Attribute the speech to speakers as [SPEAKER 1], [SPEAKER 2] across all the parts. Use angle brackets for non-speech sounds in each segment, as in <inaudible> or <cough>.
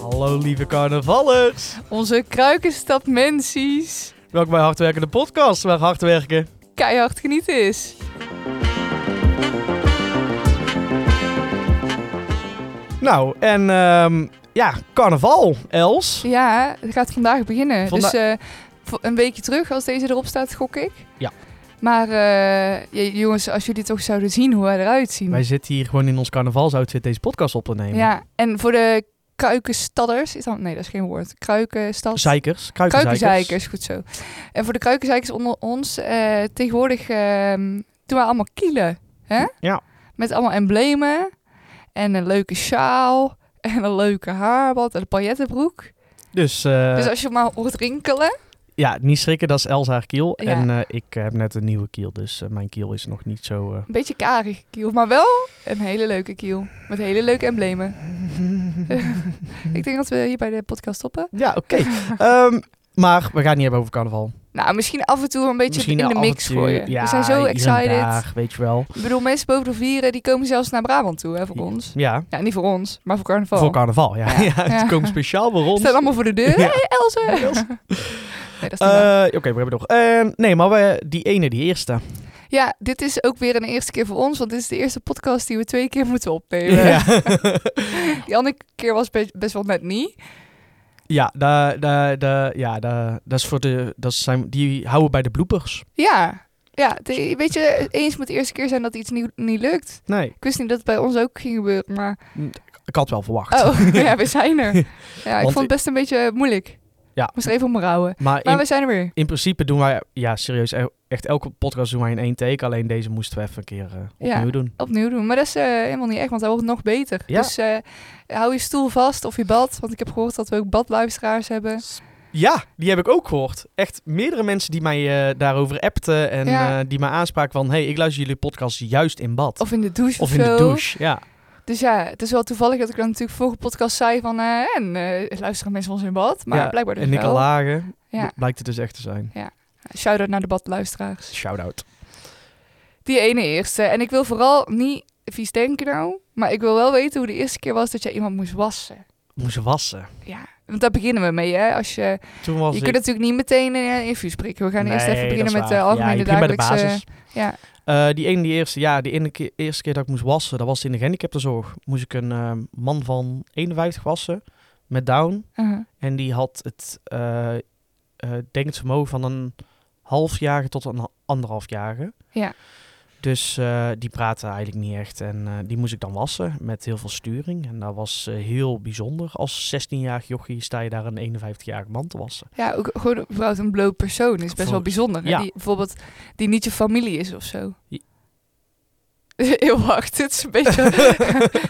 [SPEAKER 1] Hallo lieve carnavallers.
[SPEAKER 2] Onze kruikenstapmensies.
[SPEAKER 1] Welkom bij Hardwerken, de podcast waar hard werken.
[SPEAKER 2] Keihard genieten is.
[SPEAKER 1] Nou, en ehm, ja, carnaval, Els.
[SPEAKER 2] Ja, het gaat vandaag beginnen.
[SPEAKER 1] Vanda-
[SPEAKER 2] dus eh, vo- een weekje terug, als deze erop staat, gok ik.
[SPEAKER 1] Ja.
[SPEAKER 2] Maar eh, j- jongens, als jullie toch zouden zien hoe wij eruit zien.
[SPEAKER 1] Wij zitten hier gewoon in ons carnavalsoutfit deze podcast op te nemen.
[SPEAKER 2] ja, en voor de kruikenstadders... Is dat, nee, dat is geen woord. Kruikenstad...
[SPEAKER 1] Zeikers, kruikenzeikers.
[SPEAKER 2] Kruikenzeikers, goed zo. En voor de kruikenzeikers onder ons, eh, tegenwoordig ehm, doen we allemaal kielen. Hè?
[SPEAKER 1] Ja.
[SPEAKER 2] Met allemaal emblemen en een leuke sjaal en een leuke haarband en een paillettenbroek.
[SPEAKER 1] Dus, eh,
[SPEAKER 2] dus als je maar hoort rinkelen,
[SPEAKER 1] ja, niet schrikken, dat is Els haar kiel.
[SPEAKER 2] Ja.
[SPEAKER 1] En eh, ik heb net een nieuwe kiel, dus eh, mijn kiel is nog niet zo... eh,
[SPEAKER 2] een beetje karige kiel, maar wel een hele leuke kiel met hele leuke emblemen. <laughs>
[SPEAKER 1] Hm.
[SPEAKER 2] Ik denk dat we hier bij de podcast stoppen.
[SPEAKER 1] eh. ja, oké. Ehm, maar we gaan het niet hebben over carnaval.
[SPEAKER 2] Nou, misschien af en toe een beetje in de
[SPEAKER 1] af en
[SPEAKER 2] mix
[SPEAKER 1] toe-
[SPEAKER 2] gooien.
[SPEAKER 1] Ja,
[SPEAKER 2] we zijn zo
[SPEAKER 1] hier en
[SPEAKER 2] excited.
[SPEAKER 1] daar, weet je wel.
[SPEAKER 2] Ik bedoel, mensen boven de vieren, die komen zelfs naar Brabant toe, hè, voor ons.
[SPEAKER 1] Ja,
[SPEAKER 2] Ja, niet voor ons, maar voor carnaval.
[SPEAKER 1] voor carnaval, ja. ja.
[SPEAKER 2] Ja.
[SPEAKER 1] <laughs> Het komt speciaal voor
[SPEAKER 2] Ze
[SPEAKER 1] ons.
[SPEAKER 2] Staan allemaal voor de deur.
[SPEAKER 1] Ja.
[SPEAKER 2] Hey, Elze! nee, <laughs> dat is niet waar.
[SPEAKER 1] Eh, Oké, we hebben nog. Eh, nee, maar we, die ene, die eerste.
[SPEAKER 2] ja, dit is ook weer een eerste keer voor ons, want dit is de eerste podcast die we twee keer moeten opnemen.
[SPEAKER 1] Ja, <laughs>
[SPEAKER 2] Die andere keer was be- best wel net niet.
[SPEAKER 1] ja, da, da, da, ja da, dat is voor de. Dat zijn, die houden bij de bloepers.
[SPEAKER 2] Ja, ja de- weet je, eens moet de eerste keer zijn dat iets niet, niet lukt.
[SPEAKER 1] Nee,
[SPEAKER 2] Ik wist niet dat het bij ons ook ging gebeuren, maar...
[SPEAKER 1] ik had wel verwacht.
[SPEAKER 2] Oh, <laughs> ja, we zijn er. Ja,
[SPEAKER 1] Want
[SPEAKER 2] ik vond het best een beetje moeilijk.
[SPEAKER 1] Ja.
[SPEAKER 2] Moest er even om me rouwen.
[SPEAKER 1] Maar
[SPEAKER 2] Maar
[SPEAKER 1] in,
[SPEAKER 2] we zijn er weer.
[SPEAKER 1] in principe doen wij, ja, serieus, e- echt elke podcast doen wij in één take. Alleen deze moesten we even een keer eh,
[SPEAKER 2] Ja.
[SPEAKER 1] opnieuw doen.
[SPEAKER 2] Opnieuw doen. Maar dat is eh, helemaal niet echt, want dat wordt nog beter.
[SPEAKER 1] Ja.
[SPEAKER 2] Dus eh, hou je stoel vast of je bad. Want ik heb gehoord dat we ook badluisteraars hebben.
[SPEAKER 1] Ja, die heb ik ook gehoord. Echt meerdere mensen die mij eh, daarover appten en
[SPEAKER 2] Ja.
[SPEAKER 1] eh, die mij aanspraken van... hey, ik luister jullie podcast juist in bad.
[SPEAKER 2] Of in de douche of,
[SPEAKER 1] Of in de
[SPEAKER 2] zo.
[SPEAKER 1] douche, ja.
[SPEAKER 2] Dus ja, het is wel toevallig dat ik dan natuurlijk vorige podcast zei van... eh, en eh, luisteren mensen ons in bad? Maar
[SPEAKER 1] Ja,
[SPEAKER 2] blijkbaar dus
[SPEAKER 1] En Nick
[SPEAKER 2] wel.
[SPEAKER 1] Lagen
[SPEAKER 2] Ja.
[SPEAKER 1] blijkt het dus echt te zijn.
[SPEAKER 2] Shout-out naar de badluisteraars.
[SPEAKER 1] Shout-out.
[SPEAKER 2] Die ene eerste. En ik wil vooral niet vies denken nou. Maar ik wil wel weten hoe de eerste keer was dat jij iemand moest wassen.
[SPEAKER 1] Moest wassen.
[SPEAKER 2] Ja, want daar beginnen we mee hè. Als je,
[SPEAKER 1] Toen was
[SPEAKER 2] je
[SPEAKER 1] ik...
[SPEAKER 2] kunt natuurlijk niet meteen eh, in een infuus prikken. We gaan eerst
[SPEAKER 1] Nee,
[SPEAKER 2] even
[SPEAKER 1] dat is
[SPEAKER 2] beginnen met
[SPEAKER 1] waar.
[SPEAKER 2] de
[SPEAKER 1] Ja,
[SPEAKER 2] algemene
[SPEAKER 1] je begint bij de
[SPEAKER 2] dagelijkse...
[SPEAKER 1] basis.
[SPEAKER 2] ja.
[SPEAKER 1] Eh, die ene, die eerste, ja, die ene keer, eerste keer dat ik moest wassen, dat was in de gehandicaptenzorg. Moest ik een eh, man van 51 wassen, met down.
[SPEAKER 2] uh-huh.
[SPEAKER 1] En die had het eh eh, denkend vermogen van een halfjarige tot een ha- anderhalfjarige.
[SPEAKER 2] Ja.
[SPEAKER 1] Dus eh, die praatte eigenlijk niet echt. En eh, die moest ik dan wassen met heel veel sturing. En dat was eh, heel bijzonder. Als 16-jarig jochie sta je daar een 51-jarig man te
[SPEAKER 2] <laughs>
[SPEAKER 1] wassen.
[SPEAKER 2] Ja, ook gewoon überhaupt een bloot persoon is best
[SPEAKER 1] Voor-
[SPEAKER 2] wel bijzonder. hè?
[SPEAKER 1] ja.
[SPEAKER 2] Die, bijvoorbeeld die niet je familie is of zo.
[SPEAKER 1] Ja.
[SPEAKER 2] <laughs> Heel hard, dit is een
[SPEAKER 1] <laughs>
[SPEAKER 2] beetje,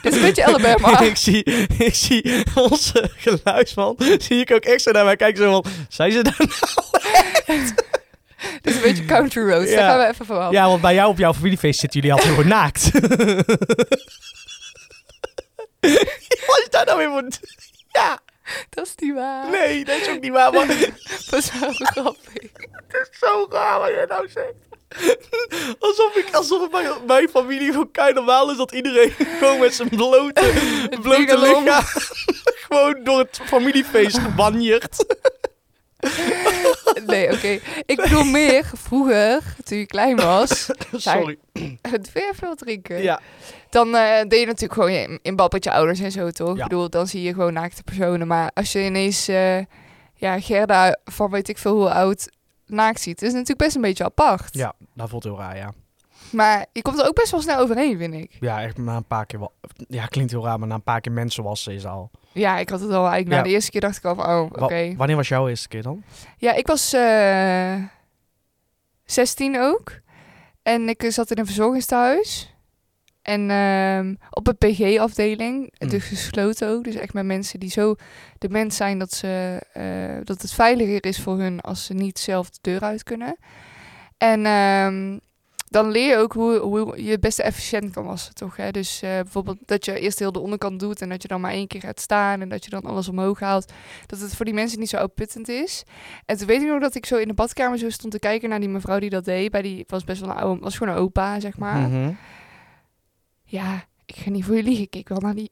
[SPEAKER 2] dit is een beetje Alabama.
[SPEAKER 1] ik, zie, ik zie onze geluidsman, zie ik ook echt zo naar mij kijken. Zo van, zijn ze daar?
[SPEAKER 2] Dit is een beetje country roads,
[SPEAKER 1] Ja.
[SPEAKER 2] daar gaan we even van af.
[SPEAKER 1] Ja, want bij jou op jouw familiefeest zitten jullie altijd gewoon <laughs> naakt. Wat is daar nou weer voor... Ja,
[SPEAKER 2] Dat is niet waar.
[SPEAKER 1] nee, dat is ook niet waar. Maar het
[SPEAKER 2] <laughs> Dat is wel
[SPEAKER 1] <laughs>
[SPEAKER 2] grappig.
[SPEAKER 1] is zo raar wat jij nou zegt. Alsof, ik, alsof het bij mijn familie gewoon kei normaal is dat iedereen <laughs> gewoon met zijn blote, <laughs> blote
[SPEAKER 2] dingelong.
[SPEAKER 1] lichaam <laughs> gewoon door het familiefeest banjert.
[SPEAKER 2] <laughs> Nee, oké. Ik bedoel meer, vroeger, toen je klein
[SPEAKER 1] <laughs>
[SPEAKER 2] was,
[SPEAKER 1] <laughs> Sorry.
[SPEAKER 2] doe je even wat drinken.
[SPEAKER 1] Ja,
[SPEAKER 2] Dan eh, deed je natuurlijk gewoon je- in bad met je ouders en zo, toch?
[SPEAKER 1] Ja.
[SPEAKER 2] Ik bedoel, dan zie je gewoon naakte personen. Maar als je ineens eh, ja, Gerda van weet ik veel hoe oud naakt ziet, is het natuurlijk best een beetje apart.
[SPEAKER 1] ja, dat voelt heel raar, ja.
[SPEAKER 2] Maar je komt er ook best wel snel overheen, vind ik.
[SPEAKER 1] Ja, echt na een paar keer... wa- Ja, klinkt heel raar, maar na een paar keer mensen wassen is al...
[SPEAKER 2] Ja, ik had het al eigenlijk
[SPEAKER 1] Ja.
[SPEAKER 2] na de eerste keer dacht ik al van, oh, oké.
[SPEAKER 1] Wa- Wanneer was jouw eerste keer dan?
[SPEAKER 2] Ja, ik was eh 16 ook. En ik eh, zat in een verzorgingstehuis. En ehm, op een PG-afdeling,
[SPEAKER 1] Mm.
[SPEAKER 2] dus gesloten ook. Dus echt met mensen die zo de mens zijn dat, ze, eh, dat het veiliger is voor hun als ze niet zelf de deur uit kunnen. En ehm, dan leer je ook hoe, hoe je het beste efficiënt kan wassen, toch? Hè? Dus eh, bijvoorbeeld dat je eerst heel de onderkant doet en dat je dan maar één keer gaat staan en dat je dan alles omhoog haalt. Dat het voor die mensen niet zo uitputtend is. En toen weet ik nog dat ik zo in de badkamer zo stond te kijken naar die mevrouw die dat deed. Bij die was best wel een oude, was gewoon een opa, zeg maar.
[SPEAKER 1] Mhm.
[SPEAKER 2] Ja, ik ga niet voor je liegen. Ik keek wel naar die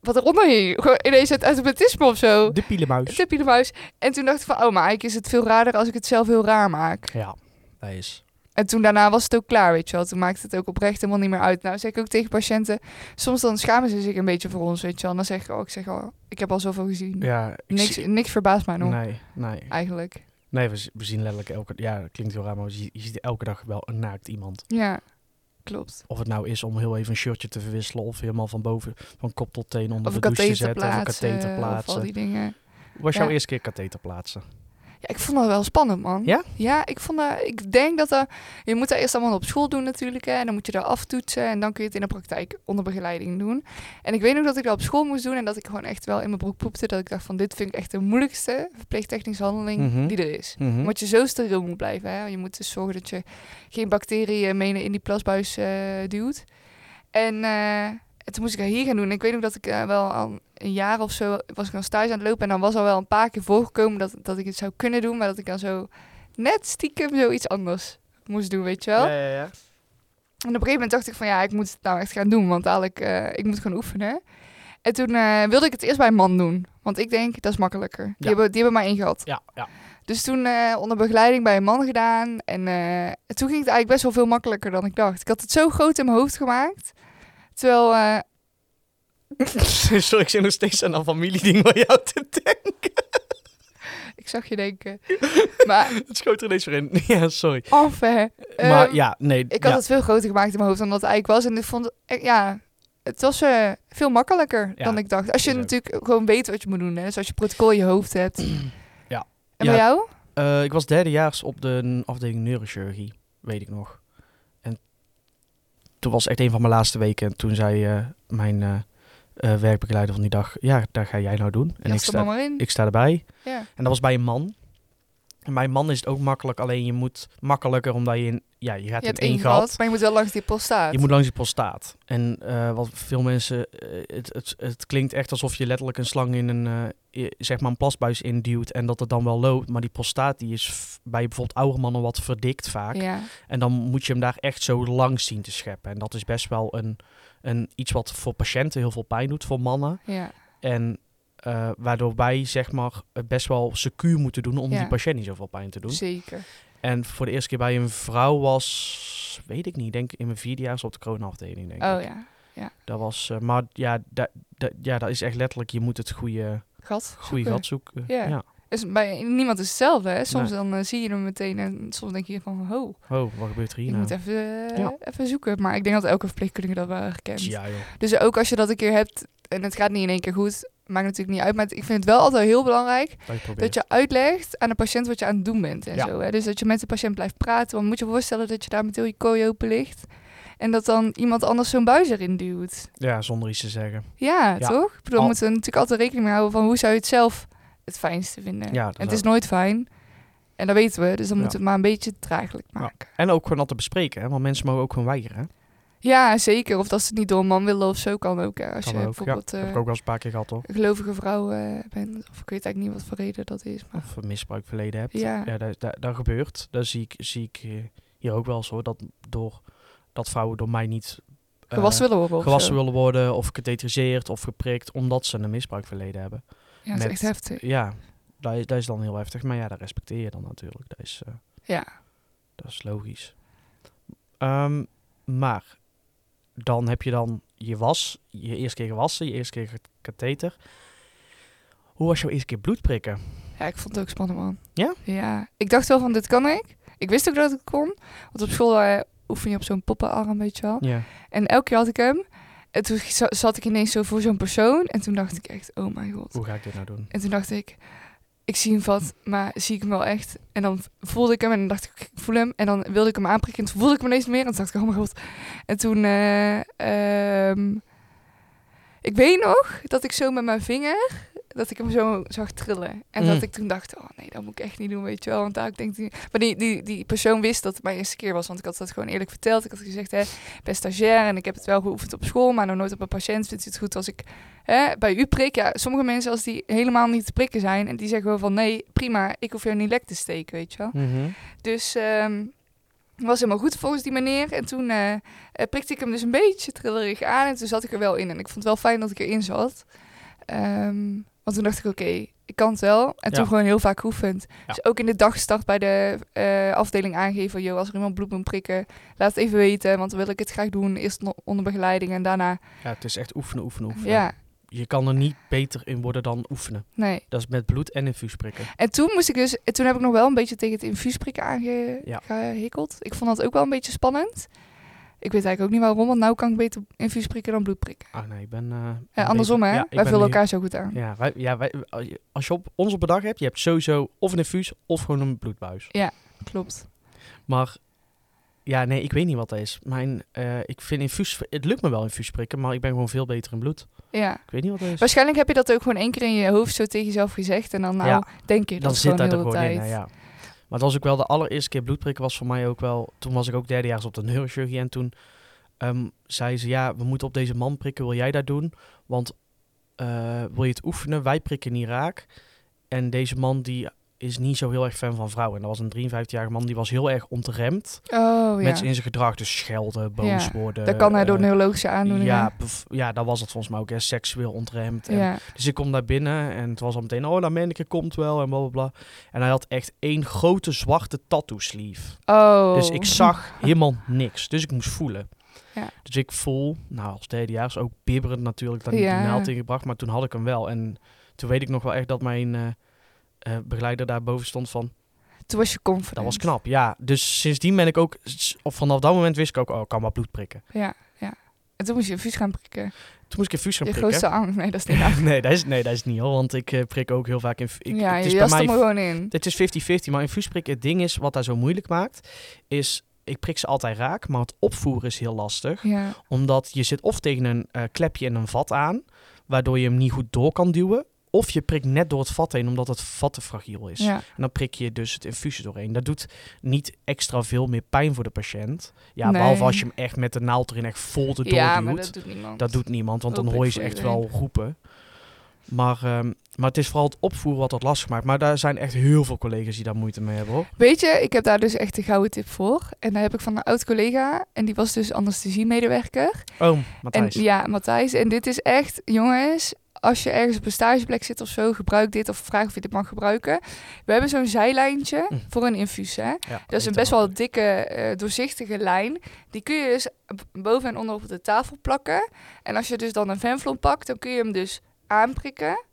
[SPEAKER 2] wat eronder hier? Gewoon Ineens het automatisme of zo.
[SPEAKER 1] De pielenmuis.
[SPEAKER 2] De pielenmuis. En toen dacht ik van, oh, maar eigenlijk is het veel raarder als ik het zelf heel raar maak.
[SPEAKER 1] Ja, dat is.
[SPEAKER 2] En toen daarna was het ook klaar, weet je wel. Toen maakte het ook oprecht helemaal niet meer uit. Nou zeg ik ook tegen patiënten, soms dan schamen ze zich een beetje voor ons, weet je wel. En dan zeg ik, oh, ik zeg al, ik heb al zoveel gezien.
[SPEAKER 1] Ja, ik
[SPEAKER 2] Niks,
[SPEAKER 1] zie-
[SPEAKER 2] niks verbaast mij nog,
[SPEAKER 1] Nee, nee.
[SPEAKER 2] eigenlijk.
[SPEAKER 1] Nee, we, z- we zien letterlijk elke... Ja, dat klinkt heel raar, maar we zie- je ziet elke dag wel een naakt iemand.
[SPEAKER 2] Ja, klopt.
[SPEAKER 1] Of het nou is om heel even een shirtje te verwisselen... of helemaal van boven, van kop tot teen onder
[SPEAKER 2] Of
[SPEAKER 1] de
[SPEAKER 2] een
[SPEAKER 1] douche te
[SPEAKER 2] katheter
[SPEAKER 1] zetten... of een
[SPEAKER 2] plaatsen, eh,
[SPEAKER 1] katheter
[SPEAKER 2] of al
[SPEAKER 1] plaatsen.
[SPEAKER 2] die dingen.
[SPEAKER 1] Was
[SPEAKER 2] Ja.
[SPEAKER 1] jouw eerste keer katheter plaatsen?
[SPEAKER 2] Ja, ik vond dat wel spannend, man.
[SPEAKER 1] Ja?
[SPEAKER 2] Ja, ik, vond dat, ik denk dat dat... Je moet dat eerst allemaal op school doen natuurlijk, hè. En dan moet je daar aftoetsen. En dan kun je het in de praktijk onder begeleiding doen. En ik weet nog dat ik dat op school moest doen. En dat ik gewoon echt wel in mijn broek poepte. Dat ik dacht van, dit vind ik echt de moeilijkste verpleegtechnische handeling
[SPEAKER 1] Mhm.
[SPEAKER 2] die er is.
[SPEAKER 1] Mhm.
[SPEAKER 2] Omdat je zo steriel moet blijven, hè. Je moet dus zorgen dat je geen bacteriën menen in die plasbuis eh, duwt. En... eh, en toen moest ik dat hier gaan doen. En ik weet nog dat ik eh, wel al een jaar of zo was ik nog stage aan het lopen. En dan was al wel een paar keer voorgekomen dat, dat ik het zou kunnen doen. Maar dat ik dan zo net stiekem zoiets anders moest doen, weet je wel.
[SPEAKER 1] Ja, ja, ja.
[SPEAKER 2] En op een gegeven moment dacht ik van ja, ik moet het nou echt gaan doen. Want dadelijk, eh, ik moet gewoon oefenen. En toen eh, wilde ik het eerst bij een man doen. Want ik denk, dat is makkelijker. Die,
[SPEAKER 1] Ja.
[SPEAKER 2] hebben, die hebben maar één gehad.
[SPEAKER 1] Ja, ja. <laughs>
[SPEAKER 2] Dus toen eh, onder begeleiding bij een man gedaan. En eh, toen ging het eigenlijk best wel veel makkelijker dan ik dacht. Ik had het zo groot in mijn hoofd gemaakt. Terwijl, eh,
[SPEAKER 1] Sorry, ik zit nog steeds aan dat familieding bij jou te denken.
[SPEAKER 2] ik zag je
[SPEAKER 1] <laughs>
[SPEAKER 2] denken. maar
[SPEAKER 1] Het schoot er ineens weer in. <laughs> Ja, sorry.
[SPEAKER 2] Enfin.
[SPEAKER 1] maar
[SPEAKER 2] Ehm,
[SPEAKER 1] ja, nee.
[SPEAKER 2] Ik had
[SPEAKER 1] ja.
[SPEAKER 2] het veel groter gemaakt in mijn hoofd dan dat het eigenlijk was. En ik vond, eh, ja, het was eh, veel makkelijker
[SPEAKER 1] Ja,
[SPEAKER 2] dan ik dacht. Als je
[SPEAKER 1] is ook.
[SPEAKER 2] natuurlijk gewoon weet wat je moet doen. Hè? Dus als je protocol in je hoofd hebt.
[SPEAKER 1] <clears throat> Ja.
[SPEAKER 2] En
[SPEAKER 1] Ja.
[SPEAKER 2] bij jou?
[SPEAKER 1] Eh, ik was derdejaars op de afdeling neurochirurgie, weet ik nog. En toen was echt een van mijn laatste weken. En toen zei eh, mijn eh, eh, werkbegeleider van die dag, ja, daar ga jij nou doen. En
[SPEAKER 2] En
[SPEAKER 1] ik
[SPEAKER 2] ik er
[SPEAKER 1] sta,
[SPEAKER 2] maar in.
[SPEAKER 1] ik sta erbij.
[SPEAKER 2] ja.
[SPEAKER 1] En dat was bij een man. En bij een man is het ook makkelijk, alleen je moet makkelijker omdat je in, ja, je gaat
[SPEAKER 2] Je
[SPEAKER 1] in
[SPEAKER 2] hebt
[SPEAKER 1] één
[SPEAKER 2] één
[SPEAKER 1] gat.
[SPEAKER 2] gehad, maar je moet wel langs die postaat.
[SPEAKER 1] Je moet langs die prostaat. En eh, wat veel mensen, eh, het, het, het klinkt echt alsof je letterlijk een slang in een, eh, i- zeg maar een plasbuis induwt en dat het dan wel loopt. Maar die prostaat die is f- bij bijvoorbeeld oude mannen wat verdikt vaak.
[SPEAKER 2] Ja.
[SPEAKER 1] En dan moet je hem daar echt zo langs zien te scheppen. En dat is best wel een, een, iets wat voor patiënten heel veel pijn doet, voor mannen.
[SPEAKER 2] ja.
[SPEAKER 1] En eh, waardoor wij zeg maar het best wel secuur moeten doen om
[SPEAKER 2] Ja.
[SPEAKER 1] die patiënt niet zoveel pijn te doen.
[SPEAKER 2] Zeker.
[SPEAKER 1] En voor de eerste keer bij een vrouw was, weet ik niet, denk ik in mijn vierde jaar is op de coronaafdeling denk ik.
[SPEAKER 2] Oh ja.
[SPEAKER 1] Dat was, eh, maar ja, da, da- ja, dat is echt letterlijk, je moet het goede,
[SPEAKER 2] Gat.
[SPEAKER 1] goede
[SPEAKER 2] zoeken.
[SPEAKER 1] gat zoeken.
[SPEAKER 2] Ja. Dus bij niemand is hetzelfde. Hè? Soms dan eh, zie je hem meteen en soms denk je van, ho,
[SPEAKER 1] Oh, wat gebeurt er hier
[SPEAKER 2] je
[SPEAKER 1] nou?
[SPEAKER 2] moet even, eh,
[SPEAKER 1] Ja.
[SPEAKER 2] even zoeken. Maar ik denk dat elke verpleegkundige dat wel herkent.
[SPEAKER 1] Ja, joh.
[SPEAKER 2] Dus ook als je dat een keer hebt en het gaat niet in één keer goed, maakt natuurlijk niet uit. Maar ik vind het wel altijd heel belangrijk
[SPEAKER 1] Dat je probeert.
[SPEAKER 2] dat je uitlegt aan de patiënt wat je aan het doen bent en
[SPEAKER 1] Ja.
[SPEAKER 2] zo. Hè? Dus dat je met de patiënt blijft praten. Want moet je voorstellen dat je daar met heel je kooi open ligt en dat dan iemand anders zo'n buis erin duwt.
[SPEAKER 1] Ja, zonder iets te zeggen.
[SPEAKER 2] Ja,
[SPEAKER 1] Ja.
[SPEAKER 2] toch? Ik bedoel, we
[SPEAKER 1] Al-
[SPEAKER 2] moeten natuurlijk altijd rekening mee houden van hoe zou je het zelf het fijnste vinden.
[SPEAKER 1] Ja, dat
[SPEAKER 2] en het
[SPEAKER 1] wel.
[SPEAKER 2] is nooit fijn. En dat weten we, dus dan
[SPEAKER 1] Ja.
[SPEAKER 2] moeten we het maar een beetje draaglijk maken.
[SPEAKER 1] En ook gewoon dat te bespreken, hè? want mensen mogen ook gewoon weigeren. hè?
[SPEAKER 2] Ja, zeker. Of dat ze het niet door een man willen of zo, kan ook. Hè? Als
[SPEAKER 1] Kan ook,
[SPEAKER 2] je
[SPEAKER 1] ja.
[SPEAKER 2] bijvoorbeeld...
[SPEAKER 1] heb
[SPEAKER 2] eh,
[SPEAKER 1] ik ook wel eens een paar keer gehad, hoor.
[SPEAKER 2] een gelovige vrouw eh, bent. Of ik weet eigenlijk niet wat voor reden dat is. Maar
[SPEAKER 1] Of een misbruik verleden hebt.
[SPEAKER 2] ja,
[SPEAKER 1] Ja, dat, dat, dat gebeurt. Dat zie ik, zie ik eh, hier ook wel eens, hoor. Dat, door, dat vrouwen door mij niet... eh,
[SPEAKER 2] gewassen willen worden. of
[SPEAKER 1] gewassen
[SPEAKER 2] zo.
[SPEAKER 1] willen worden of getheteriseerd of geprikt omdat ze een misbruik verleden hebben.
[SPEAKER 2] Ja,
[SPEAKER 1] met-
[SPEAKER 2] dat is echt heftig.
[SPEAKER 1] Ja, dat is, dat is dan heel heftig. Maar ja, dat respecteer je dan natuurlijk. Dat is, eh,
[SPEAKER 2] Ja.
[SPEAKER 1] dat is logisch. Ehm, maar dan heb je dan je was, je eerste keer gewassen, je eerste keer ge- katheter. Hoe was jouw eerste keer bloed prikken?
[SPEAKER 2] Ja, ik vond het ook spannend, man.
[SPEAKER 1] Ja?
[SPEAKER 2] Ja. Ik dacht wel van, dit kan ik. Ik wist ook dat ik het kon. Want op school eh, oefen je op zo'n poppenarm, weet je wel.
[SPEAKER 1] Ja.
[SPEAKER 2] En elke keer had ik hem. En toen za- zat ik ineens zo voor zo'n persoon. En toen dacht ik echt, oh mijn god.
[SPEAKER 1] Hoe ga ik dit nou doen?
[SPEAKER 2] En toen dacht ik, ik zie hem vat, maar zie ik hem wel echt? En dan voelde ik hem en dan dacht ik, ik voel hem. En dan wilde ik hem aanprikken en toen voelde ik hem ineens niet meer. En toen dacht ik, oh mijn god. En toen, eh, ehm, ik weet nog dat ik zo met mijn vinger, dat ik hem zo zag trillen. En
[SPEAKER 1] Mm.
[SPEAKER 2] dat ik toen dacht, oh nee, dat moet ik echt niet doen, weet je wel. Want daar denk ik, maar die, die, die persoon wist dat het mijn eerste keer was, want ik had dat gewoon eerlijk verteld. Ik had gezegd, hè, ik ben stagiair en ik heb het wel geoefend op school, maar nog nooit op een patiënt. Vindt u het goed als ik hè, bij u prik? Ja, sommige mensen als die helemaal niet te prikken zijn en die zeggen wel van nee, prima, ik hoef jou niet lek te steken, weet je wel. Dus ehm, was helemaal goed volgens die meneer. En toen eh, eh, prikte ik hem dus een beetje trillerig aan. En toen zat ik er wel in. En ik vond het wel fijn dat ik erin zat. Ehm, want toen dacht ik, oké, ik kan het wel. En toen
[SPEAKER 1] Ja.
[SPEAKER 2] gewoon heel vaak oefend.
[SPEAKER 1] Ja.
[SPEAKER 2] Dus ook in de dagstart bij de eh, afdeling aangeven... joh, als er iemand bloed moet prikken, laat het even weten. Want dan wil ik het graag doen. Eerst no- onder begeleiding en daarna...
[SPEAKER 1] Ja, het is echt oefenen, oefenen, oefenen.
[SPEAKER 2] Ja,
[SPEAKER 1] Je kan er niet beter in worden dan oefenen.
[SPEAKER 2] nee.
[SPEAKER 1] Dat is met bloed en infuus prikken.
[SPEAKER 2] En toen moest ik dus, en toen heb ik nog wel een beetje tegen het infuusprikken
[SPEAKER 1] Ja.
[SPEAKER 2] aangehikkeld. Ik vond dat ook wel een beetje spannend. Ik weet eigenlijk ook niet waarom, want nou kan ik beter infuus prikken dan bloed prikken.
[SPEAKER 1] Ah nee, ik ben... eh, ben
[SPEAKER 2] Ja, andersom
[SPEAKER 1] bezig.
[SPEAKER 2] hè,
[SPEAKER 1] Ja, ik
[SPEAKER 2] wij
[SPEAKER 1] ben
[SPEAKER 2] vullen
[SPEAKER 1] nu-
[SPEAKER 2] elkaar zo goed aan. Ja.
[SPEAKER 1] Ja, wij, ja wij, als je op ons op een dag hebt, je hebt sowieso of een infuus of gewoon een bloedbuis.
[SPEAKER 2] Klopt.
[SPEAKER 1] Maar ja, nee, ik weet niet wat dat is. Mijn, eh, ik vind infuus, het lukt me wel infuus prikken, maar ik ben gewoon veel beter in bloed.
[SPEAKER 2] Ja.
[SPEAKER 1] Ik weet niet wat dat is.
[SPEAKER 2] Waarschijnlijk heb je dat ook gewoon één keer in je hoofd zo tegen jezelf gezegd. En dan nou,
[SPEAKER 1] Ja.
[SPEAKER 2] denk je
[SPEAKER 1] dan
[SPEAKER 2] dat
[SPEAKER 1] zit
[SPEAKER 2] gewoon
[SPEAKER 1] dat er
[SPEAKER 2] heel de
[SPEAKER 1] gewoon
[SPEAKER 2] tijd.
[SPEAKER 1] in. hè, ja. Maar dat was ook wel de allereerste keer bloedprikken was voor mij ook wel. Toen was ik ook derdejaars op de neurochirurgie en toen ehm, zei ze: ja, we moeten op deze man prikken. Wil jij dat doen? Want eh, wil je het oefenen? Wij prikken niet raak. En deze man die is niet zo heel erg fan van vrouwen. En dat was een 53-jarige man die was heel erg ontremd
[SPEAKER 2] Oh ja,
[SPEAKER 1] met zijn in zijn gedrag. Dus schelden, boos
[SPEAKER 2] Ja,
[SPEAKER 1] worden.
[SPEAKER 2] dat kan hij door
[SPEAKER 1] eh,
[SPEAKER 2] neurologische aandoeningen.
[SPEAKER 1] ja, bev- ja, dat was het volgens mij ook. Hè, seksueel ontremd. En
[SPEAKER 2] ja.
[SPEAKER 1] dus ik kom daar binnen en het was al meteen, oh, dat manneke komt wel en blablabla. En hij had echt één grote zwarte tattoo sleeve.
[SPEAKER 2] Oh.
[SPEAKER 1] Dus ik
[SPEAKER 2] <laughs>
[SPEAKER 1] zag helemaal niks. Dus ik moest voelen.
[SPEAKER 2] Ja.
[SPEAKER 1] Dus ik voel, nou als derdejaars ook bibberend natuurlijk, dat niet
[SPEAKER 2] Ja.
[SPEAKER 1] die naald ingebracht. Maar toen had ik hem wel. En toen weet ik nog wel echt dat mijn eh, eh, begeleider daarboven stond van,
[SPEAKER 2] Toen was je confident.
[SPEAKER 1] dat was knap. Ja, dus sindsdien ben ik ook, s- of vanaf dat moment wist ik ook, oh, ik kan maar bloed prikken.
[SPEAKER 2] Ja, ja. En toen moest je infuus gaan prikken.
[SPEAKER 1] Toen moest ik infuus gaan
[SPEAKER 2] Je
[SPEAKER 1] prikken. <laughs>
[SPEAKER 2] grootste angst. Nee, dat is niet waar.
[SPEAKER 1] nee, dat is, nee, dat is niet hoor, want ik eh, prik ook heel vaak in... Ik,
[SPEAKER 2] ja,
[SPEAKER 1] het
[SPEAKER 2] je
[SPEAKER 1] is bij
[SPEAKER 2] jas er
[SPEAKER 1] mij
[SPEAKER 2] maar gewoon in.
[SPEAKER 1] Het is 50-50, maar infuusprik, het ding is, wat daar zo moeilijk maakt, is, ik prik ze altijd raak, maar het opvoeren is heel lastig.
[SPEAKER 2] Ja.
[SPEAKER 1] Omdat je zit of tegen een eh, klepje in een vat aan, waardoor je hem niet goed door kan duwen. Of je prikt net door het vat heen, omdat het vat te fragiel is.
[SPEAKER 2] Ja.
[SPEAKER 1] En dan prik je dus het infuus doorheen. Dat doet niet extra veel meer pijn voor de patiënt. Ja,
[SPEAKER 2] Nee.
[SPEAKER 1] behalve als je hem echt met de naald erin echt vol te
[SPEAKER 2] ja, maar
[SPEAKER 1] doorduwt.
[SPEAKER 2] dat doet niemand.
[SPEAKER 1] Dat doet niemand, want dan
[SPEAKER 2] Hopelijk
[SPEAKER 1] hoor je ze
[SPEAKER 2] voor
[SPEAKER 1] echt
[SPEAKER 2] iedereen.
[SPEAKER 1] wel roepen. Maar, ehm, maar het is vooral het opvoeren wat dat lastig maakt. Maar daar zijn echt heel veel collega's die daar moeite mee hebben, hoor.
[SPEAKER 2] Weet je, ik heb daar dus echt een gouden tip voor. En daar heb ik van een oud collega. En die was dus anesthesiemedewerker.
[SPEAKER 1] Oh,
[SPEAKER 2] En
[SPEAKER 1] Matthijs.
[SPEAKER 2] ja, Matthijs. En dit is echt, jongens, als je ergens op een stageplek zit of zo, gebruik dit of vraag of je dit mag gebruiken. We hebben zo'n zijlijntje
[SPEAKER 1] Hm.
[SPEAKER 2] voor een infuus. Hè?
[SPEAKER 1] Ja,
[SPEAKER 2] Dat is een
[SPEAKER 1] weet
[SPEAKER 2] best
[SPEAKER 1] dan
[SPEAKER 2] wel dikke, eh, doorzichtige lijn. Die kun je dus b- boven en onder op de tafel plakken. En als je dus dan een venflon pakt, dan kun je hem dus aanprikken.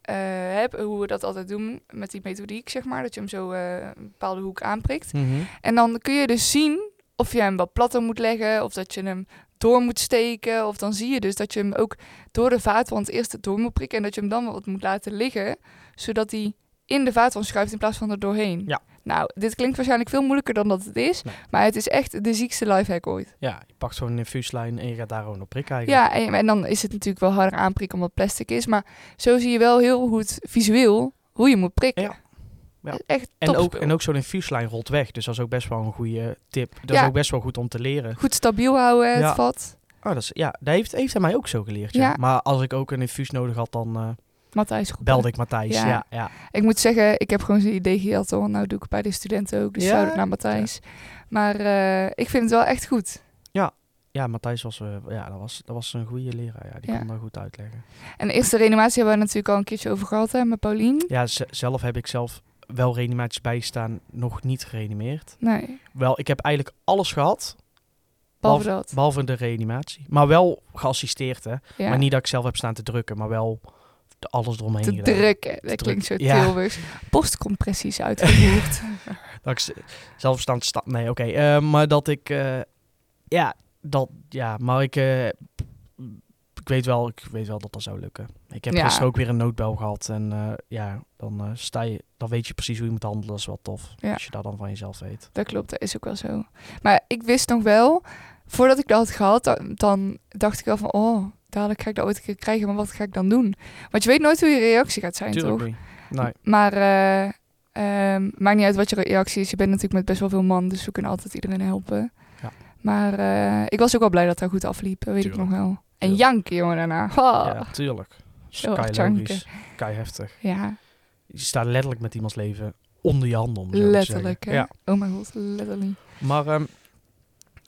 [SPEAKER 2] Eh, hè, hoe we dat altijd doen met die methodiek, zeg maar. Dat je hem zo eh, een bepaalde hoek aanprikt.
[SPEAKER 1] Mhm.
[SPEAKER 2] En dan kun je dus zien of je hem wat platter moet leggen. Of dat je hem door moet steken. Of dan zie je dus dat je hem ook door de vaatwand eerst door moet prikken. En dat je hem dan wat moet laten liggen. Zodat hij in de vaatwand schuift in plaats van er doorheen.
[SPEAKER 1] Ja.
[SPEAKER 2] Nou, dit klinkt waarschijnlijk veel moeilijker dan dat het is.
[SPEAKER 1] Nee.
[SPEAKER 2] Maar het is echt de ziekste lifehack ooit.
[SPEAKER 1] Ja, je pakt zo'n infuuslijn en je gaat daar gewoon op prikken eigenlijk.
[SPEAKER 2] Ja, en, en dan is het natuurlijk wel harder aanprikken omdat het plastic is. Maar zo zie je wel heel goed visueel hoe je moet prikken.
[SPEAKER 1] Ja. Ja.
[SPEAKER 2] Echt
[SPEAKER 1] en, ook,
[SPEAKER 2] topspul.
[SPEAKER 1] en ook zo'n infuuslijn rolt weg. Dus dat is ook best wel een goede tip. Dat
[SPEAKER 2] Ja.
[SPEAKER 1] is ook best wel goed om te leren.
[SPEAKER 2] Goed stabiel houden, het
[SPEAKER 1] Ja.
[SPEAKER 2] vat.
[SPEAKER 1] Oh, dat is, ja, dat heeft, heeft hij mij ook zo geleerd. Ja.
[SPEAKER 2] Ja.
[SPEAKER 1] Maar als ik ook een infuus nodig had, dan eh,
[SPEAKER 2] Matthijs goed.
[SPEAKER 1] belde ik Matthijs.
[SPEAKER 2] Ja.
[SPEAKER 1] Ja. Ja, ja.
[SPEAKER 2] Ik moet zeggen, ik heb gewoon zijn idee gehad hoor. Nou doe ik het bij de studenten ook, dus
[SPEAKER 1] Ja?
[SPEAKER 2] zou shout-out naar Matthijs. Maar eh, ik vind het wel echt goed.
[SPEAKER 1] Matthijs was, eh, ja, dat was, dat was een goede leraar. Ja, die
[SPEAKER 2] Ja.
[SPEAKER 1] kon dat goed uitleggen.
[SPEAKER 2] En de eerste renovatie hebben we natuurlijk al een keertje over gehad hè, met Paulien.
[SPEAKER 1] Ja, z- zelf heb ik zelf wel reanimaties bijstaan, nog niet gereanimeerd.
[SPEAKER 2] Nee,
[SPEAKER 1] Wel, ik heb eigenlijk alles gehad,
[SPEAKER 2] behalve dat.
[SPEAKER 1] behalve de reanimatie. Maar wel geassisteerd, hè.
[SPEAKER 2] Ja.
[SPEAKER 1] Maar niet dat ik zelf heb staan te drukken, maar wel de- alles eromheen
[SPEAKER 2] te
[SPEAKER 1] gedaan.
[SPEAKER 2] drukken, dat klinkt zo
[SPEAKER 1] druk. Ja.
[SPEAKER 2] tilwigs. Postcompressies
[SPEAKER 1] <laughs>
[SPEAKER 2] uitgevoerd.
[SPEAKER 1] Dat ik z- zelf staan te sta- Nee, oké. eh, maar dat ik... eh, ja, dat... Ja, maar ik... eh, ik weet, wel, ik weet wel dat dat zou lukken. Ik heb
[SPEAKER 2] Ja.
[SPEAKER 1] gisteren ook weer een noodbel gehad. En eh, ja, dan, eh, sta je, dan weet je precies hoe je moet handelen. Dat is wel tof.
[SPEAKER 2] Ja.
[SPEAKER 1] Als je dat dan van jezelf weet.
[SPEAKER 2] dat klopt, dat is ook wel zo. Maar ik wist nog wel, voordat ik dat had gehad, dan, dan dacht ik wel van... Oh, dadelijk ga ik dat ooit een keer krijgen, maar wat ga ik dan doen? Want je weet nooit hoe je reactie gaat zijn, toch?
[SPEAKER 1] Tuurlijk niet. Nee.
[SPEAKER 2] Maar eh, ehm, maakt niet uit wat je reactie is. Je bent natuurlijk met best wel veel man, dus we kunnen altijd iedereen helpen.
[SPEAKER 1] Ja.
[SPEAKER 2] Maar eh, ik was ook wel blij dat hij goed afliep, dat weet ik
[SPEAKER 1] Tuurlijk.
[SPEAKER 2] nog wel. En
[SPEAKER 1] Tuurlijk.
[SPEAKER 2] janken, jongen, daarna. Ha.
[SPEAKER 1] Ja, tuurlijk.
[SPEAKER 2] Ah. Zo hard
[SPEAKER 1] Sky logisch. Kei heftig.
[SPEAKER 2] Ja,
[SPEAKER 1] Je staat letterlijk met iemands leven onder je handen. Om zo te
[SPEAKER 2] letterlijk.
[SPEAKER 1] zeggen.
[SPEAKER 2] Hè?
[SPEAKER 1] Ja.
[SPEAKER 2] Oh mijn god, letterlijk.
[SPEAKER 1] Maar ehm,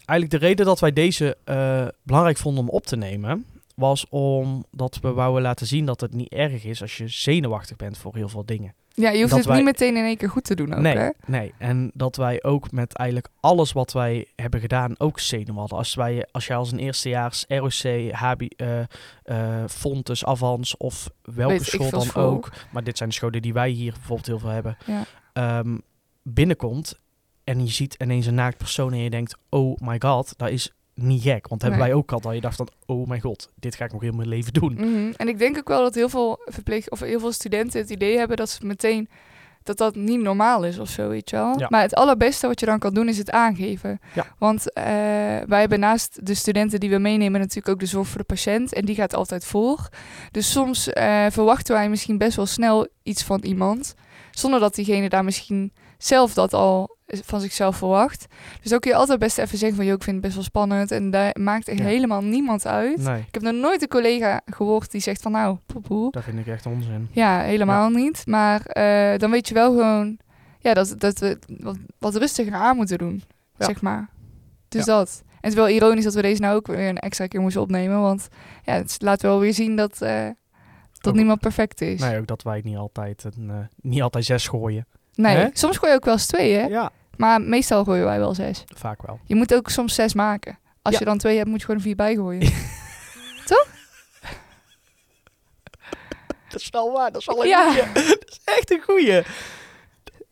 [SPEAKER 1] eigenlijk de reden dat wij deze eh, belangrijk vonden om op te nemen, was omdat we wouden laten zien dat het niet erg is als je zenuwachtig bent voor heel veel dingen.
[SPEAKER 2] Ja, je hoeft
[SPEAKER 1] Dat
[SPEAKER 2] het
[SPEAKER 1] wij-
[SPEAKER 2] niet meteen in één keer goed te doen ook, hè?
[SPEAKER 1] nee, nee, en dat wij ook met eigenlijk alles wat wij hebben gedaan ook zenuw hadden. Als, wij, als jij als een eerstejaars ROC, HB, eh eh Fontes, Avans of welke
[SPEAKER 2] Weet ik
[SPEAKER 1] school
[SPEAKER 2] veel
[SPEAKER 1] dan
[SPEAKER 2] school.
[SPEAKER 1] ook, maar dit zijn de scholen die wij hier bijvoorbeeld heel veel hebben,
[SPEAKER 2] Ja.
[SPEAKER 1] ehm, binnenkomt en je ziet ineens een naakt persoon en je denkt, oh my god, dat is niet gek. Want hebben
[SPEAKER 2] Nee.
[SPEAKER 1] wij ook al dat je dacht van, oh mijn god, dit ga ik nog heel mijn leven doen.
[SPEAKER 2] Mhm. En ik denk ook wel dat heel veel verpleeg of heel veel studenten het idee hebben dat ze meteen dat dat niet normaal is of zo, weet je wel.
[SPEAKER 1] Ja.
[SPEAKER 2] Maar het allerbeste wat je dan kan doen is het aangeven.
[SPEAKER 1] Ja.
[SPEAKER 2] Want eh, wij hebben naast de studenten die we meenemen natuurlijk ook de zorg voor de patiënt en die gaat altijd voor. Dus soms eh, verwachten wij misschien best wel snel iets van iemand, zonder dat diegene daar misschien zelf dat al eh, van zichzelf verwacht. Dus dan kun je altijd best even zeggen van, joh, ik vind het best wel spannend en daar maakt echt
[SPEAKER 1] Ja.
[SPEAKER 2] helemaal niemand uit.
[SPEAKER 1] Nee,
[SPEAKER 2] Ik heb nog nooit een collega gehoord die zegt van nou, poepoe.
[SPEAKER 1] dat vind ik echt onzin.
[SPEAKER 2] Ja, helemaal niet. Maar eh, dan weet je wel gewoon ja, dat, dat we wat, wat rustiger aan moeten doen,
[SPEAKER 1] Ja.
[SPEAKER 2] zeg maar. Dus dat. En het is wel ironisch dat we deze nou ook weer een extra keer moesten opnemen. Want ja, het laat wel weer zien dat, eh, dat
[SPEAKER 1] Ook-
[SPEAKER 2] niemand perfect is. Nee,
[SPEAKER 1] Nee, ook dat wij niet altijd, een, eh, niet altijd zes gooien. Hè?
[SPEAKER 2] soms gooi je ook wel eens twee, hè?
[SPEAKER 1] Ja,
[SPEAKER 2] Maar meestal gooien wij wel zes.
[SPEAKER 1] vaak wel.
[SPEAKER 2] Je moet ook soms zes maken. Als
[SPEAKER 1] Ja.
[SPEAKER 2] je dan twee hebt, moet je gewoon vier
[SPEAKER 1] <laughs>
[SPEAKER 2] bijgooien.
[SPEAKER 1] Dat is wel waar, dat is wel
[SPEAKER 2] Ja.
[SPEAKER 1] goeie. <laughs> Dat is echt een goeie.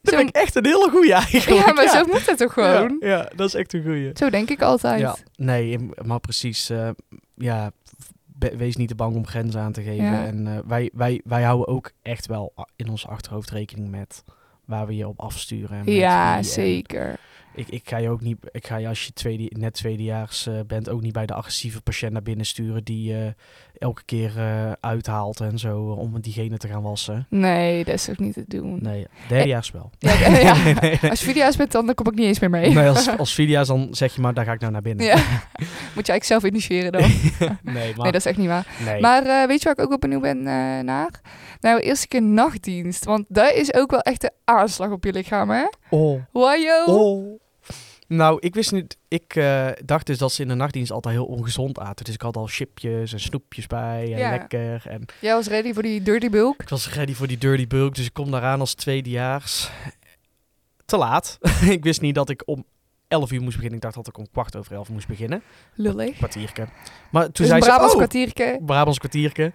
[SPEAKER 2] Zo-
[SPEAKER 1] echt een hele goeie eigenlijk.
[SPEAKER 2] <laughs> ja, maar zo moet het toch gewoon?
[SPEAKER 1] Ja, ja, dat is echt een goeie.
[SPEAKER 2] Zo denk ik altijd.
[SPEAKER 1] Ja, nee, in- maar precies. eh, ja, be- wees niet te bang om grenzen aan te geven.
[SPEAKER 2] Ja.
[SPEAKER 1] En eh, wij, wij, wij houden ook echt wel a- in ons achterhoofd rekening met waar we je op afsturen. en met eh, wie
[SPEAKER 2] Ja,
[SPEAKER 1] en-
[SPEAKER 2] zeker.
[SPEAKER 1] Ik, ik ga je ook niet, ik ga je als je tweede, net tweedejaars eh, bent, ook niet bij de agressieve patiënt naar binnen sturen die eh, elke keer eh, uithaalt en zo eh, om diegene te gaan wassen.
[SPEAKER 2] Nee, dat is ook niet te doen.
[SPEAKER 1] Nee, derdejaars wel. <laughs>
[SPEAKER 2] Ja, ja, <laughs> ja.
[SPEAKER 1] Nee, nee, nee.
[SPEAKER 2] Als je video's bent, dan dan kom ik niet eens meer mee. <laughs>
[SPEAKER 1] Nee, als, als video's dan zeg je maar, daar ga ik nou naar binnen.
[SPEAKER 2] Ja. Moet je eigenlijk zelf initiëren dan. Nee,
[SPEAKER 1] Nee, maar,
[SPEAKER 2] dat is echt niet waar.
[SPEAKER 1] nee.
[SPEAKER 2] Maar eh, weet je waar ik ook wel benieuwd ben eh, naar? Nou, eerst een keer nachtdienst. Want daar is ook wel echt de aanslag op je lichaam, hè?
[SPEAKER 1] Oh.
[SPEAKER 2] Wajo.
[SPEAKER 1] Oh. Nou, ik wist niet. Ik eh, dacht dus dat ze in de nachtdienst altijd heel ongezond aten. Dus ik had al chipjes en snoepjes bij en
[SPEAKER 2] Ja.
[SPEAKER 1] lekker. En
[SPEAKER 2] Jij was ready voor die dirty bulk.
[SPEAKER 1] ik was ready voor die dirty bulk, dus ik kom daaraan als tweedejaars. Te laat. <laughs> ik wist niet dat ik om 11 uur moest beginnen. Ik dacht dat ik om kwart over 11 moest beginnen.
[SPEAKER 2] Lullig.
[SPEAKER 1] Kwartierke. Maar toen
[SPEAKER 2] dus
[SPEAKER 1] zei ze...
[SPEAKER 2] Brabants
[SPEAKER 1] oh,
[SPEAKER 2] kwartierke.
[SPEAKER 1] Brabants kwartierke.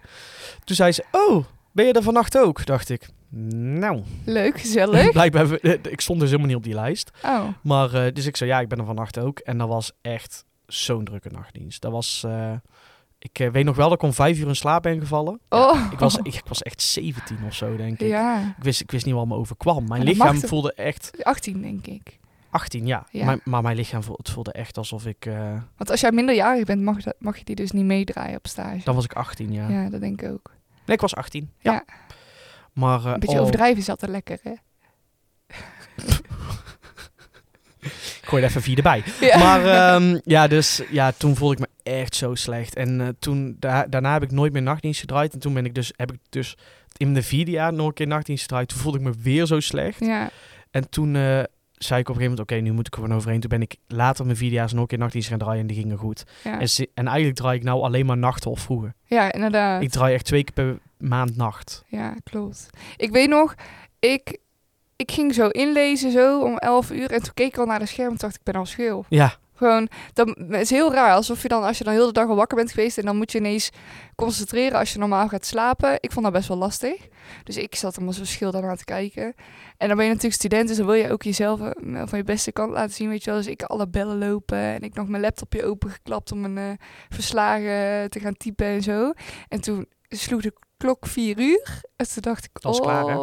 [SPEAKER 1] Toen zei ze, oh, ben je er vannacht ook? Dacht ik, nou.
[SPEAKER 2] Leuk, gezellig.
[SPEAKER 1] <laughs> Blijkbaar, ik stond dus helemaal niet op die lijst.
[SPEAKER 2] Oh,
[SPEAKER 1] Maar eh, dus ik zei, ja, ik ben er vannacht ook. En dat was echt zo'n drukke nachtdienst. Dat was, eh, ik eh, weet nog wel dat ik om vijf uur in slaap ben gevallen. Ja,
[SPEAKER 2] Oh.
[SPEAKER 1] ik, was, ik, ik was echt 17 of zo, denk ik.
[SPEAKER 2] ja.
[SPEAKER 1] Ik, wist, ik wist niet wat me overkwam. Mijn
[SPEAKER 2] Maar dat
[SPEAKER 1] lichaam
[SPEAKER 2] mag toch-
[SPEAKER 1] voelde echt
[SPEAKER 2] 18 denk ik.
[SPEAKER 1] 18, ja.
[SPEAKER 2] Ja.
[SPEAKER 1] Maar, maar mijn lichaam voelde, het voelde echt alsof ik... eh,
[SPEAKER 2] Want als jij minderjarig bent, mag, dat- mag je die dus niet meedraaien op stage.
[SPEAKER 1] dan was ik 18, ja.
[SPEAKER 2] ja, dat denk ik ook.
[SPEAKER 1] Nee, ik was 18. Ja.
[SPEAKER 2] Ja.
[SPEAKER 1] Maar, eh,
[SPEAKER 2] Een beetje
[SPEAKER 1] oh,
[SPEAKER 2] overdrijven is altijd lekker, hè?
[SPEAKER 1] ik gooi er even vier erbij.
[SPEAKER 2] <laughs> Ja.
[SPEAKER 1] Maar ehm, ja, dus ja, toen voelde ik me echt zo slecht. En eh, toen, da- daarna heb ik nooit meer nachtdienst gedraaid. En toen ben ik dus, heb ik dus in de vierde jaar nog een keer nachtdienst gedraaid. Toen voelde ik me weer zo slecht.
[SPEAKER 2] ja.
[SPEAKER 1] En toen eh, zei ik op een gegeven moment, oké, nu moet ik er gewoon overheen. Toen ben ik later mijn vierde jaar nog een keer nachtdienst gaan draaien en die gingen goed.
[SPEAKER 2] Ja.
[SPEAKER 1] En, ze- en eigenlijk draai ik nou alleen maar nachten of vroeger.
[SPEAKER 2] ja, inderdaad.
[SPEAKER 1] Ik draai echt twee keer per maand nacht.
[SPEAKER 2] Ja, klopt. Ik weet nog, ik, ik ging zo inlezen zo om 11 uur en toen keek ik al naar de scherm en dacht ik ben al scheel.
[SPEAKER 1] Ja,
[SPEAKER 2] Gewoon, dat het is heel raar. Alsof je dan, als je dan heel de dag al wakker bent geweest en dan moet je ineens concentreren als je normaal gaat slapen. Ik vond dat best wel lastig. Dus ik zat allemaal zo schil daarna te kijken. En dan ben je natuurlijk student, dus dan wil je ook jezelf eh, van je beste kant laten zien, weet je wel. Dus ik alle bellen lopen en ik nog mijn laptopje opengeklapt om mijn eh, verslagen te gaan typen en zo. En toen sloeg de klok vier uur en toen dacht ik,
[SPEAKER 1] Dat is
[SPEAKER 2] oh, <laughs>
[SPEAKER 1] klaar, hè?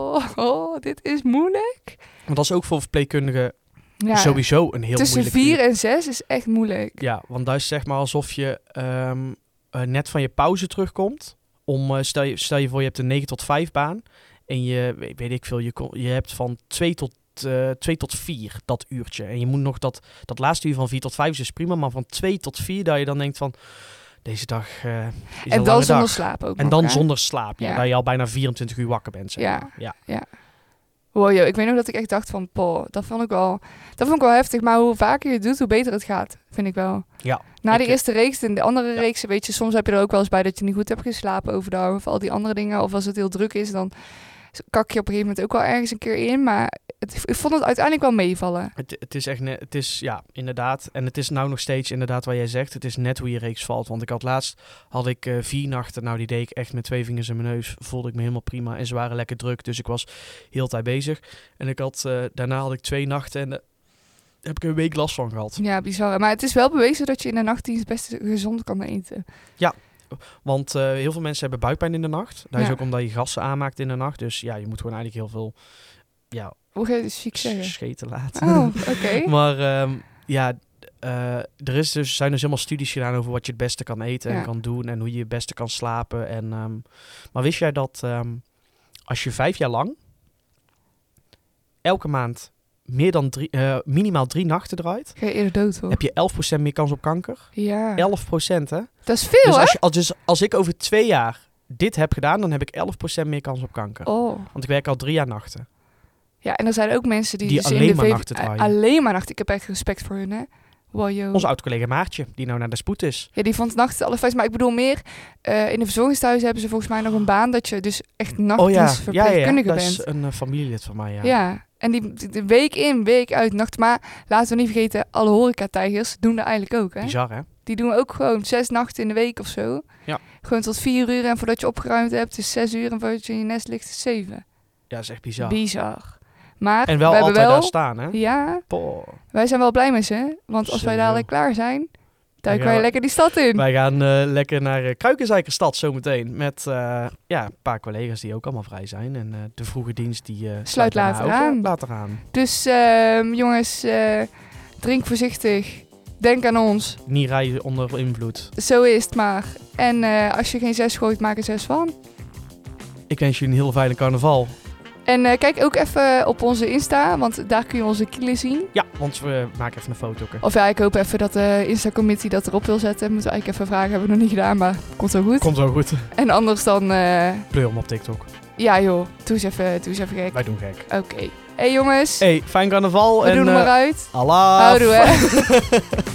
[SPEAKER 2] oh, dit is moeilijk.
[SPEAKER 1] want dat is ook voor verpleegkundigen
[SPEAKER 2] Ja,
[SPEAKER 1] sowieso een heel
[SPEAKER 2] tussen
[SPEAKER 1] moeilijk uur.
[SPEAKER 2] vier en zes is echt moeilijk.
[SPEAKER 1] Ja, want dat is zeg maar alsof je ehm, eh, net van je pauze terugkomt. Om, eh, stel, je, stel je voor, je hebt een 9 tot 5 baan. En je, we- weet ik veel, je, kon- je hebt van 2 tot, eh 2 tot 4 dat uurtje. En je moet nog dat, dat laatste uur van 4 tot 5 is dus prima. Maar van 2 tot 4 dat je dan denkt van, deze dag eh, is
[SPEAKER 2] en
[SPEAKER 1] een
[SPEAKER 2] dan
[SPEAKER 1] lange
[SPEAKER 2] zonder
[SPEAKER 1] dag.
[SPEAKER 2] slaap ook
[SPEAKER 1] En
[SPEAKER 2] nog,
[SPEAKER 1] dan
[SPEAKER 2] hè?
[SPEAKER 1] zonder slaap. Ja,
[SPEAKER 2] Ja.
[SPEAKER 1] Dat je al bijna 24 uur wakker bent. Zeg
[SPEAKER 2] Ja.
[SPEAKER 1] maar. ja.
[SPEAKER 2] Ja. Wow, yo, ik weet nog dat ik echt dacht van, poh, dat vond ik wel, dat vond ik wel heftig. Maar hoe vaker je het doet, hoe beter het gaat, vind ik wel.
[SPEAKER 1] Ja.
[SPEAKER 2] Na de
[SPEAKER 1] Ik- eh,
[SPEAKER 2] eerste reeks en de andere
[SPEAKER 1] Ja.
[SPEAKER 2] reeks, weet je, soms heb je er ook wel eens bij dat je niet goed hebt geslapen overdag of al die andere dingen. Of als het heel druk is, dan kak je op een gegeven moment ook wel ergens een keer in. Maar het, ik vond het uiteindelijk wel meevallen.
[SPEAKER 1] Het, het is echt net, het is ja, inderdaad. En het is nou nog steeds inderdaad waar jij zegt. Het is net hoe je reeks valt. Want ik had laatst, had ik eh, vier nachten, nou die deed ik echt met twee vingers in mijn neus. Voelde ik me helemaal prima en ze waren lekker druk. Dus ik was heel de tijd bezig. En ik had, eh, daarna had ik twee nachten en eh, heb ik een week last van gehad.
[SPEAKER 2] Ja, bizar. Maar het is wel bewezen dat je in de nachtdienst best gezond kan eten.
[SPEAKER 1] Want eh, heel veel mensen hebben buikpijn in de nacht. Dat is
[SPEAKER 2] Ja.
[SPEAKER 1] ook omdat je gassen aanmaakt in de nacht. Dus ja, je moet gewoon eigenlijk heel veel ja,
[SPEAKER 2] Hoe ga je het chic
[SPEAKER 1] s-
[SPEAKER 2] zeggen?
[SPEAKER 1] scheten laten.
[SPEAKER 2] Oh, oké.
[SPEAKER 1] <laughs> Maar ehm, ja, eh, er is dus, zijn dus helemaal studies gedaan over wat je het beste kan eten en
[SPEAKER 2] Ja.
[SPEAKER 1] kan doen en hoe je het beste kan slapen. En, ehm, maar wist jij dat ehm, als je vijf jaar lang elke maand meer dan drie, eh, minimaal drie nachten draait,
[SPEAKER 2] Ga je eerder dood hoor.
[SPEAKER 1] heb je 11% meer kans op kanker?
[SPEAKER 2] Ja,
[SPEAKER 1] 11% hè?
[SPEAKER 2] dat is veel
[SPEAKER 1] dus,
[SPEAKER 2] hè?
[SPEAKER 1] als je, als, dus als ik over twee jaar dit heb gedaan, dan heb ik 11% meer kans op kanker.
[SPEAKER 2] Oh.
[SPEAKER 1] Want ik werk al drie jaar nachten.
[SPEAKER 2] Ja, en er zijn ook mensen die,
[SPEAKER 1] Die
[SPEAKER 2] dus
[SPEAKER 1] alleen
[SPEAKER 2] in de
[SPEAKER 1] maar
[SPEAKER 2] VV
[SPEAKER 1] nachten draaien.
[SPEAKER 2] Alleen maar nachten. Ik heb echt respect voor hun, hè. Wow, yo.
[SPEAKER 1] Onze oud-collega Maartje, die nou naar de spoed is.
[SPEAKER 2] Ja, die vond nachten alle feest. Maar ik bedoel meer, eh, in de verzorgingstehuizen hebben ze volgens mij nog een baan dat je dus
[SPEAKER 1] Oh,
[SPEAKER 2] echt nachtdienstverpleegkundige
[SPEAKER 1] dat
[SPEAKER 2] bent.
[SPEAKER 1] is een eh, familielid van mij, ja.
[SPEAKER 2] ja. en die, die- die week in, week uit, nacht. Maar laten we niet vergeten, alle horecatijgers doen dat eigenlijk ook, hè.
[SPEAKER 1] Bizar, hè?
[SPEAKER 2] Die doen ook gewoon zes nachten in de week of zo.
[SPEAKER 1] Ja.
[SPEAKER 2] Gewoon tot vier uur en voordat je opgeruimd hebt is zes uur en voordat je in je nest ligt is zeven.
[SPEAKER 1] Ja, is echt bizar.
[SPEAKER 2] Bizar. Maar
[SPEAKER 1] en wel
[SPEAKER 2] we
[SPEAKER 1] altijd
[SPEAKER 2] hebben wel...
[SPEAKER 1] daar staan, hè?
[SPEAKER 2] Ja,
[SPEAKER 1] Poh.
[SPEAKER 2] Wij zijn wel blij met ze, want als wij
[SPEAKER 1] Sowieso.
[SPEAKER 2] dadelijk klaar zijn, duiken
[SPEAKER 1] Ja.
[SPEAKER 2] wij lekker die stad in.
[SPEAKER 1] Wij gaan eh, lekker naar eh Kruikenzijkerstad zometeen. Met eh, ja, een paar collega's die ook allemaal vrij zijn. En eh, de vroege dienst die... eh,
[SPEAKER 2] Sluit
[SPEAKER 1] daarna
[SPEAKER 2] later
[SPEAKER 1] ook, eh,
[SPEAKER 2] aan.
[SPEAKER 1] Later aan.
[SPEAKER 2] Dus ehm, jongens, eh, drink voorzichtig. Denk aan ons.
[SPEAKER 1] Niet rijden onder invloed.
[SPEAKER 2] Zo is het maar. En eh, als je geen zes gooit, maak er zes van.
[SPEAKER 1] Ik wens jullie een heel fijne carnaval.
[SPEAKER 2] En eh, kijk ook even op onze Insta, want daar kun je onze kielen zien.
[SPEAKER 1] Ja, want we maken even een foto.
[SPEAKER 2] Of ja, ik hoop even dat de Insta-committee dat erop wil zetten. Moeten we eigenlijk even vragen, hebben we nog niet gedaan, maar komt wel goed.
[SPEAKER 1] Komt wel goed.
[SPEAKER 2] En anders dan, eh,
[SPEAKER 1] Pleur hem op TikTok.
[SPEAKER 2] ja joh, doe eens even, doe eens even gek.
[SPEAKER 1] Wij doen gek.
[SPEAKER 2] Oké. hey, jongens,
[SPEAKER 1] hey, fijn carnaval.
[SPEAKER 2] Eh. we
[SPEAKER 1] en,
[SPEAKER 2] doen er
[SPEAKER 1] eh,
[SPEAKER 2] maar uit.
[SPEAKER 1] <laughs> Allah.
[SPEAKER 2] Houdoe hè.